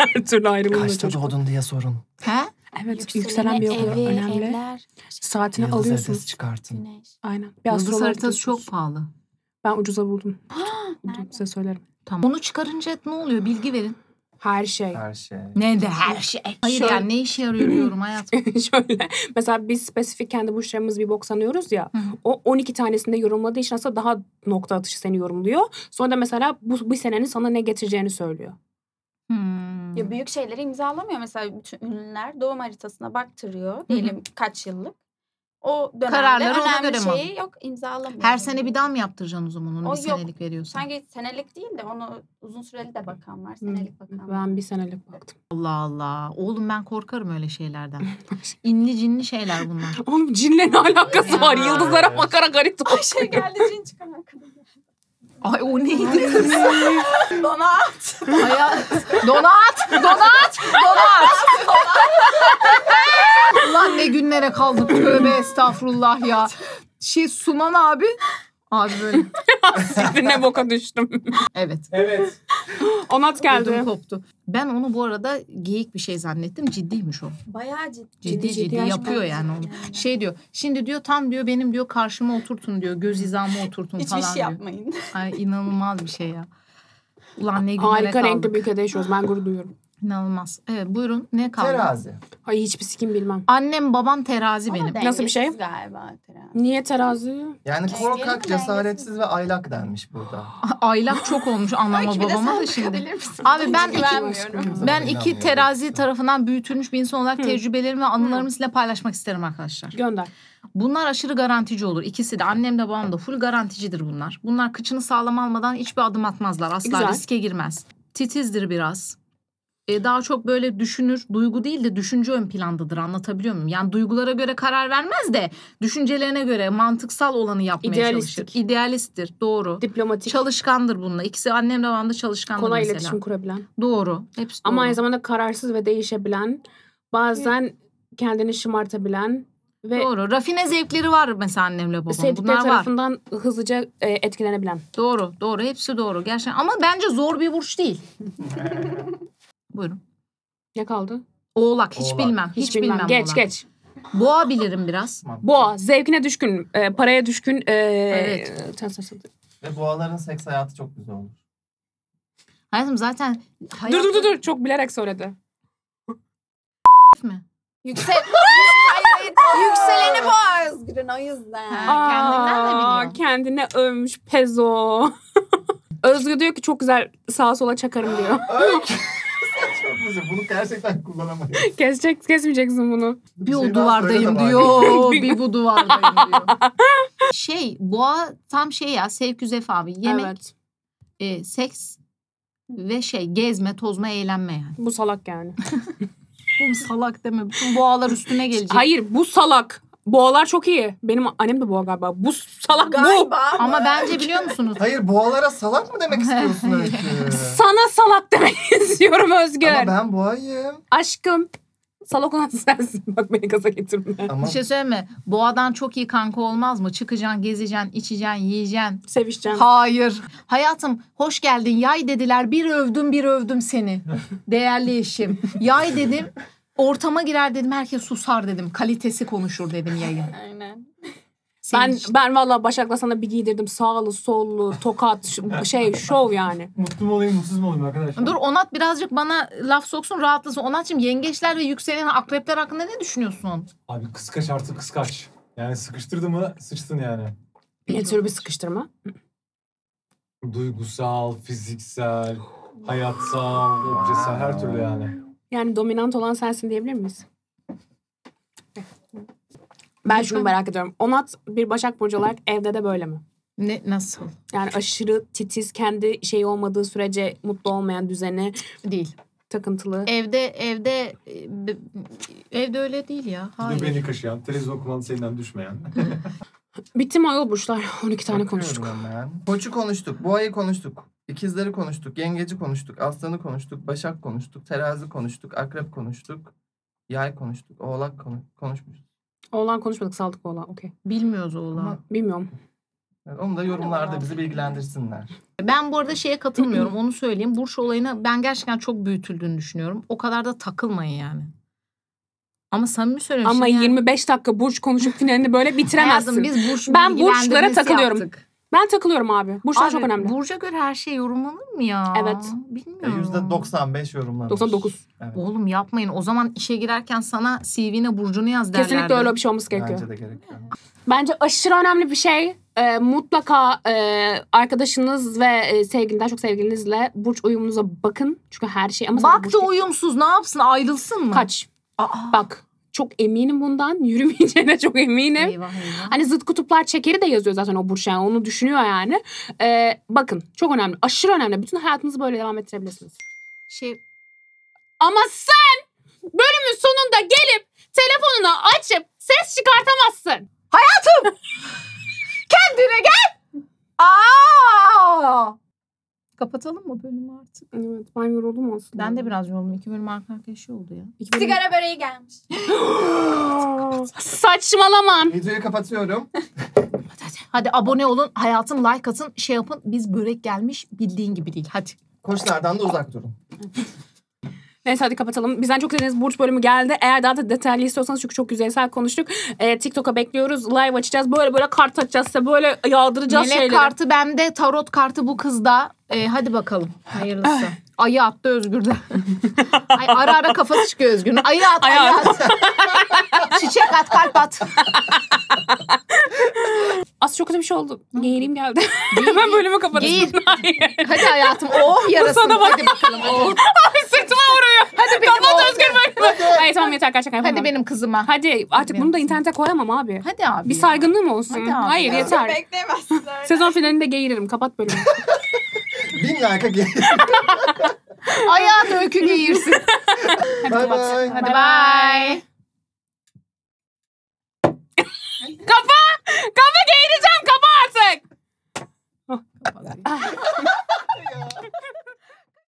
Speaker 1: Her türlü ayrılımda
Speaker 2: Kaçta
Speaker 1: çocuk.
Speaker 2: doğdun diye sorun.
Speaker 3: He?
Speaker 1: Evet yükselen bir okul
Speaker 4: evi,
Speaker 1: önemli.
Speaker 4: Evler,
Speaker 1: Saatini
Speaker 2: Yıldız
Speaker 1: alıyorsun.
Speaker 2: haritası çıkartın.
Speaker 4: güneş.
Speaker 1: Aynen. Bir
Speaker 3: Yıldız
Speaker 1: astrolog
Speaker 3: haritası çok
Speaker 1: diyorsunuz.
Speaker 3: pahalı.
Speaker 1: Ben ucuza buldum.
Speaker 4: nerede?
Speaker 1: Buldum, Size söylerim.
Speaker 3: Tamam. Onu çıkarınca ne oluyor? Bilgi verin.
Speaker 1: Her şey.
Speaker 2: Her şey.
Speaker 3: Ne de her şey. Hayır
Speaker 1: Şöyle-
Speaker 3: yani ne işe yarıyor diyorum hayatım.
Speaker 1: [laughs] Şöyle. Mesela biz spesifik kendi burçlarımız bir bok sanıyoruz ya.
Speaker 3: Hı.
Speaker 1: O 12 tanesinde yorumladığı için aslında daha nokta atışı seni yorumluyor. Sonra da mesela bu bir senenin sana ne getireceğini söylüyor.
Speaker 3: Hmm.
Speaker 4: Ya büyük şeyleri imzalamıyor mesela bütün ünlüler doğum haritasına baktırıyor diyelim kaç yıllık. O dönemde
Speaker 3: Kararları ona
Speaker 4: önemli
Speaker 3: göre mi
Speaker 4: şeyi yok imzalamıyor.
Speaker 3: Her sene bir daha mı yaptıracaksın o zaman onu
Speaker 4: O
Speaker 3: bir
Speaker 4: yok.
Speaker 3: senelik veriyorsan?
Speaker 4: Sanki senelik değil de onu uzun süreli de bakan var.
Speaker 1: Hı.
Speaker 4: Senelik bakan var.
Speaker 1: Ben bir senelik baktım. [laughs]
Speaker 3: Allah Allah. Oğlum ben korkarım öyle şeylerden. İnli cinli şeyler bunlar.
Speaker 1: Oğlum cinle ne alakası var?
Speaker 3: Ya.
Speaker 1: Yıldızlara bakara garip
Speaker 4: Ay şey geldi cin çıkan arkadaş.
Speaker 3: Ay o neydi?
Speaker 4: Bana
Speaker 3: Hayat. Donat! Donat! Donat! Ulan ne günlere kaldık. Tövbe estağfurullah ya. Şey Suman abi. Abi böyle.
Speaker 1: [laughs] Siktir ne boka düştüm.
Speaker 3: Evet.
Speaker 2: Evet.
Speaker 1: Onat geldi.
Speaker 3: Ödüm koptu. Ben onu bu arada geyik bir şey zannettim. Ciddiymiş o.
Speaker 4: bayağı ciddi.
Speaker 3: Ciddi ciddi,
Speaker 1: ciddi
Speaker 3: yapıyor
Speaker 4: gerçekten
Speaker 3: yani
Speaker 4: ciddi
Speaker 3: onu. Şey diyor. Şimdi diyor tam diyor benim diyor karşıma oturtun diyor. Göz hizama oturtun
Speaker 4: Hiçbir
Speaker 3: falan
Speaker 4: şey
Speaker 3: diyor.
Speaker 4: yapmayın.
Speaker 3: Ay inanılmaz bir şey ya. Ulan ne günlere
Speaker 1: Harika
Speaker 3: kaldık.
Speaker 1: renkli bir ülkede yaşıyoruz. Ben gurur duyuyorum.
Speaker 3: İnanılmaz. Evet buyurun ne kaldı?
Speaker 2: Terazi.
Speaker 1: Ay hiçbir sikim bilmem.
Speaker 3: Annem babam terazi
Speaker 4: Ama
Speaker 3: benim.
Speaker 1: Nasıl bir şey?
Speaker 4: dengesiz galiba terazi.
Speaker 1: Niye terazi?
Speaker 2: Yani
Speaker 4: Dengeli mi,
Speaker 2: korkak,
Speaker 4: dengesiz
Speaker 2: cesaretsiz ve aylak denmiş burada.
Speaker 3: Ah, Aylak çok olmuş anlama
Speaker 4: Belki bir de
Speaker 3: babama
Speaker 4: sen
Speaker 3: da şimdi.
Speaker 4: bakabilir misin?
Speaker 3: Abi ben iki-
Speaker 4: Hiç güvenmiyorum.
Speaker 2: Sana
Speaker 3: Ben iki
Speaker 2: inanmıyorum.
Speaker 3: terazi tarafından büyütülmüş bir insan olarak
Speaker 1: Hı.
Speaker 3: tecrübelerimi ve anılarımı sizinle paylaşmak isterim arkadaşlar.
Speaker 1: Gönder.
Speaker 3: Bunlar aşırı garantici olur. İkisi de annem de babam da full garanticidir bunlar. Bunlar kıçını sağlam almadan hiçbir adım atmazlar. Asla
Speaker 1: Güzel.
Speaker 3: riske girmez. Titizdir biraz. E, daha çok böyle düşünür. Duygu değil de düşünce ön plandadır anlatabiliyor muyum? Yani duygulara göre karar vermez de düşüncelerine göre mantıksal olanı yapmaya
Speaker 1: İdealistik.
Speaker 3: çalışır. İdealisttir doğru.
Speaker 1: Diplomatik.
Speaker 3: Çalışkandır bunlar. İkisi annem de babam da çalışkandır
Speaker 1: kolay
Speaker 3: mesela.
Speaker 1: iletişim kurabilen.
Speaker 3: Doğru. Hepsi doğru.
Speaker 1: Ama aynı zamanda kararsız ve değişebilen. Bazen kendini şımartabilen. Ve
Speaker 3: Doğru. Rafine zevkleri var mesela annemle babamın.
Speaker 1: sevdikleri
Speaker 3: Bunlar var.
Speaker 1: tarafından hızlıca e, etkilenebilen.
Speaker 3: Doğru, doğru. Hepsi doğru. Gerçekten ama bence zor bir burç
Speaker 2: [laughs]
Speaker 3: değil. Buyurun.
Speaker 1: Ne kaldı?
Speaker 3: Oğlak hiç
Speaker 2: Oğlak.
Speaker 3: bilmem. Hiç, bilmem.
Speaker 1: Geç
Speaker 3: oğlak.
Speaker 1: geç.
Speaker 3: Boğa bilirim biraz.
Speaker 2: Tamam.
Speaker 1: Boğa zevkine düşkün, e, paraya düşkün. E,
Speaker 3: Evet.
Speaker 1: sen- sen- sen-
Speaker 2: Ve boğaların seks hayatı çok güzel olur.
Speaker 3: Hayatım zaten hayatım...
Speaker 1: Dur dur dur dur çok bilerek söyledi.
Speaker 3: mi?
Speaker 4: Yüksel... [laughs] Yükseleni boğa Özgür'ün o yüzden.
Speaker 3: Ha. kendinden de
Speaker 1: Aa,
Speaker 3: biliyor.
Speaker 1: Kendine övmüş pezo. [laughs] Özgü diyor ki çok güzel sağa sola çakarım
Speaker 3: [laughs]
Speaker 1: diyor.
Speaker 2: [laughs] çok güzel. Bunu gerçekten kullanamayız.
Speaker 1: Kesecek, kesmeyeceksin bunu.
Speaker 3: Bir
Speaker 2: şey
Speaker 3: o
Speaker 2: daha söyle
Speaker 3: duvardayım
Speaker 2: de bari.
Speaker 3: diyor. [laughs] bir bu duvardayım
Speaker 1: [laughs]
Speaker 3: diyor. Şey boğa tam şey ya sevk üzef abi. Yemek,
Speaker 1: Evet.
Speaker 3: e, seks ve şey gezme, tozma, eğlenme yani.
Speaker 1: Bu salak yani.
Speaker 3: Oğlum salak deme. Bütün boğalar üstüne gelecek.
Speaker 1: Hayır bu salak. Boğalar çok iyi. Benim annem de boğa galiba. Bu salak bu.
Speaker 4: Galiba
Speaker 3: Ama bence biliyor musunuz?
Speaker 2: Hayır boğalara salak
Speaker 3: [laughs]
Speaker 2: mı demek istiyorsun Öykü?
Speaker 1: Sana salak demek [laughs] istiyorum Özgür.
Speaker 2: Ama ben boğayım.
Speaker 1: Aşkım. Salak olan sensin. [laughs] Bak beni gaza getirme.
Speaker 2: Ama
Speaker 3: Bir şey söyleme. Boğadan çok iyi kanka olmaz mı? Çıkacaksın, gezeceksin, içeceksin, yiyeceksin.
Speaker 1: Sevişeceğim.
Speaker 3: Hayır. Hayatım hoş geldin yay dediler. Bir övdüm bir övdüm seni. Değerli eşim. Yay dedim. Ortama girer dedim. Herkes susar dedim. Kalitesi konuşur dedim yayın.
Speaker 4: Aynen.
Speaker 3: Senin
Speaker 1: Ben
Speaker 3: için.
Speaker 1: ben vallahi Başak'la sana bir giydirdim. Sağlı, sollu, tokat, ş- şey, şov yani.
Speaker 5: Mutlu mu olayım, mutsuz mu olayım arkadaşlar?
Speaker 3: Dur Onat birazcık bana laf soksun rahatlasın. Onatçım yengeçler ve yükselen akrepler hakkında ne düşünüyorsun?
Speaker 5: Abi kıskaç artık kıskaç. Yani sıkıştırdı mı sıçtın yani.
Speaker 1: Ne tür bir sıkıştırma?
Speaker 5: Duygusal, fiziksel, hayatsal, objesel her türlü yani.
Speaker 1: Yani dominant olan sensin diyebilir miyiz? Ben şunu merak ediyorum. Onat bir Başak Burcu olarak evde de böyle mi?
Speaker 3: Ne nasıl?
Speaker 1: Yani aşırı titiz, kendi şeyi olmadığı sürece mutlu olmayan düzeni,
Speaker 3: Değil.
Speaker 1: takıntılı.
Speaker 3: Evde evde e, b- evde öyle değil ya. Hayır.
Speaker 5: Göbeğini kaşıyan, televizyon kumandasından düşmeyen.
Speaker 1: Bitti mi ayol burçlar? [laughs] 12 tane konuştuk.
Speaker 2: Bakıyorum hemen. Koçu konuştuk, boğayı konuştuk, ikizleri konuştuk, yengeci konuştuk, aslanı konuştuk, başak konuştuk, terazi konuştuk, akrep konuştuk, yay konuştuk, oğlak konu- konuşmuştuk.
Speaker 1: Oğlan konuşmadık, saldık oğlan. Okey.
Speaker 3: Bilmiyoruz oğlan.
Speaker 2: Ama-
Speaker 1: Bilmiyorum.
Speaker 2: Yani onu da yorumlarda bizi bilgilendirsinler.
Speaker 3: Ben bu arada şeye katılmıyorum. Onu söyleyeyim. Burç olayına ben gerçekten çok büyütüldüğünü düşünüyorum. O kadar da takılmayın yani. Ama samimi söylüyorum.
Speaker 1: Ama
Speaker 3: şimdi yani-
Speaker 1: 25 dakika burç konuşup finalini böyle bitiremezsin.
Speaker 3: Hayatım, biz burç
Speaker 1: Ben burçlara
Speaker 3: bilgilendirmesi
Speaker 1: takılıyorum.
Speaker 3: yaptık.
Speaker 1: Ben takılıyorum abi. Burçlar
Speaker 3: Abi,
Speaker 1: çok önemli.
Speaker 3: Burca göre her şey yorumlanır mı ya?
Speaker 1: Evet.
Speaker 2: E,
Speaker 3: Bilmiyorum.
Speaker 2: %95 yorumlanmış.
Speaker 1: 99.
Speaker 2: Evet.
Speaker 3: Oğlum yapmayın. O zaman işe girerken sana CV'ne burcunu yaz derlerdi.
Speaker 1: Kesinlikle öyle bir şey olması gerekiyor.
Speaker 2: Bence de gerekiyor.
Speaker 1: Bence aşırı önemli bir şey. Ee, mutlaka e, arkadaşınız ve e, sevgilin, daha çok sevgilinizle burç uyumunuza bakın. Çünkü her şey ama sadece
Speaker 3: Bak
Speaker 1: burç
Speaker 3: da
Speaker 1: değil.
Speaker 3: uyumsuz ne yapsın ayrılsın mı?
Speaker 1: Kaç.
Speaker 3: Aa,
Speaker 1: Bak çok eminim bundan. [laughs] Yürümeyeceğine çok eminim.
Speaker 3: eyvah eyvah.
Speaker 1: Hani zıt kutuplar çekeri de yazıyor zaten o burç yani. Onu düşünüyor yani. Ee, bakın çok önemli. Aşırı önemli. Bütün hayatınızı böyle devam ettirebilirsiniz.
Speaker 3: Şey,
Speaker 1: Ama sen bölümün sonunda gelip telefonunu açıp ses çıkartamazsın.
Speaker 3: kendine gel. Aa! Kapatalım mı bölümü artık?
Speaker 1: Evet ben yoruldum aslında.
Speaker 3: Ben de biraz yoruldum. İki bölüm arka arkaya şey oldu ya.
Speaker 1: İki bölüm-
Speaker 4: Sigara böreği gelmiş.
Speaker 1: Saçmalama.
Speaker 2: Videoyu kapatıyorum.
Speaker 3: Hadi abone olun, hayatın like atın, şey yapın. Biz börek gelmiş bildiğin gibi değil. Hadi.
Speaker 2: Koçlardan da uzak durun.
Speaker 1: Neyse hadi kapatalım. Bizden çok istediğiniz burç bölümü geldi. Eğer daha da detaylı istiyorsanız çünkü çok yüzeysel konuştuk. Ee, TikTok'a bekliyoruz. Live açacağız. Böyle böyle kart açacağız size. Böyle yağdıracağız
Speaker 3: Melek
Speaker 1: şeyleri.
Speaker 3: kartı bende, tarot kartı bu kızda. Ee, hadi bakalım. Hayırlısı. [laughs] Ayı attı Özgür'de. [laughs] Ay, ara ara kafası çıkıyor Özgür'ün. Ayı at, ayı,
Speaker 1: Ayı
Speaker 3: at. [laughs] Çiçek at, kalp at.
Speaker 1: Az çok kötü bir şey oldu. Geğireyim geldi. [laughs] Hemen bölümü kapatın.
Speaker 3: Geğir.
Speaker 1: [laughs] Hayır.
Speaker 3: Hadi hayatım. Oh yarasın.
Speaker 1: Sana bak.
Speaker 3: Hadi bakalım. Oh.
Speaker 1: Sırtıma vuruyor.
Speaker 3: Hadi benim oğlum.
Speaker 1: Hayır tamam yeter arkadaşlar.
Speaker 3: Hadi
Speaker 1: yapamam.
Speaker 3: benim kızıma.
Speaker 1: Hadi artık bunu da internete koyamam abi.
Speaker 3: Hadi abi.
Speaker 1: Bir
Speaker 3: ya.
Speaker 1: saygınlığı mı olsun?
Speaker 3: Hadi abi
Speaker 1: Hayır
Speaker 3: ya.
Speaker 1: yeter.
Speaker 4: Bekleyemezsin öyle.
Speaker 1: Sezon finalinde geğiririm. Kapat
Speaker 3: [laughs]
Speaker 1: bölümü.
Speaker 2: Bin like'a gelin.
Speaker 3: Ayağı da öykü giyirsin.
Speaker 2: Bye bye.
Speaker 3: Hadi bye.
Speaker 1: Kafa! Kafa geğirecek!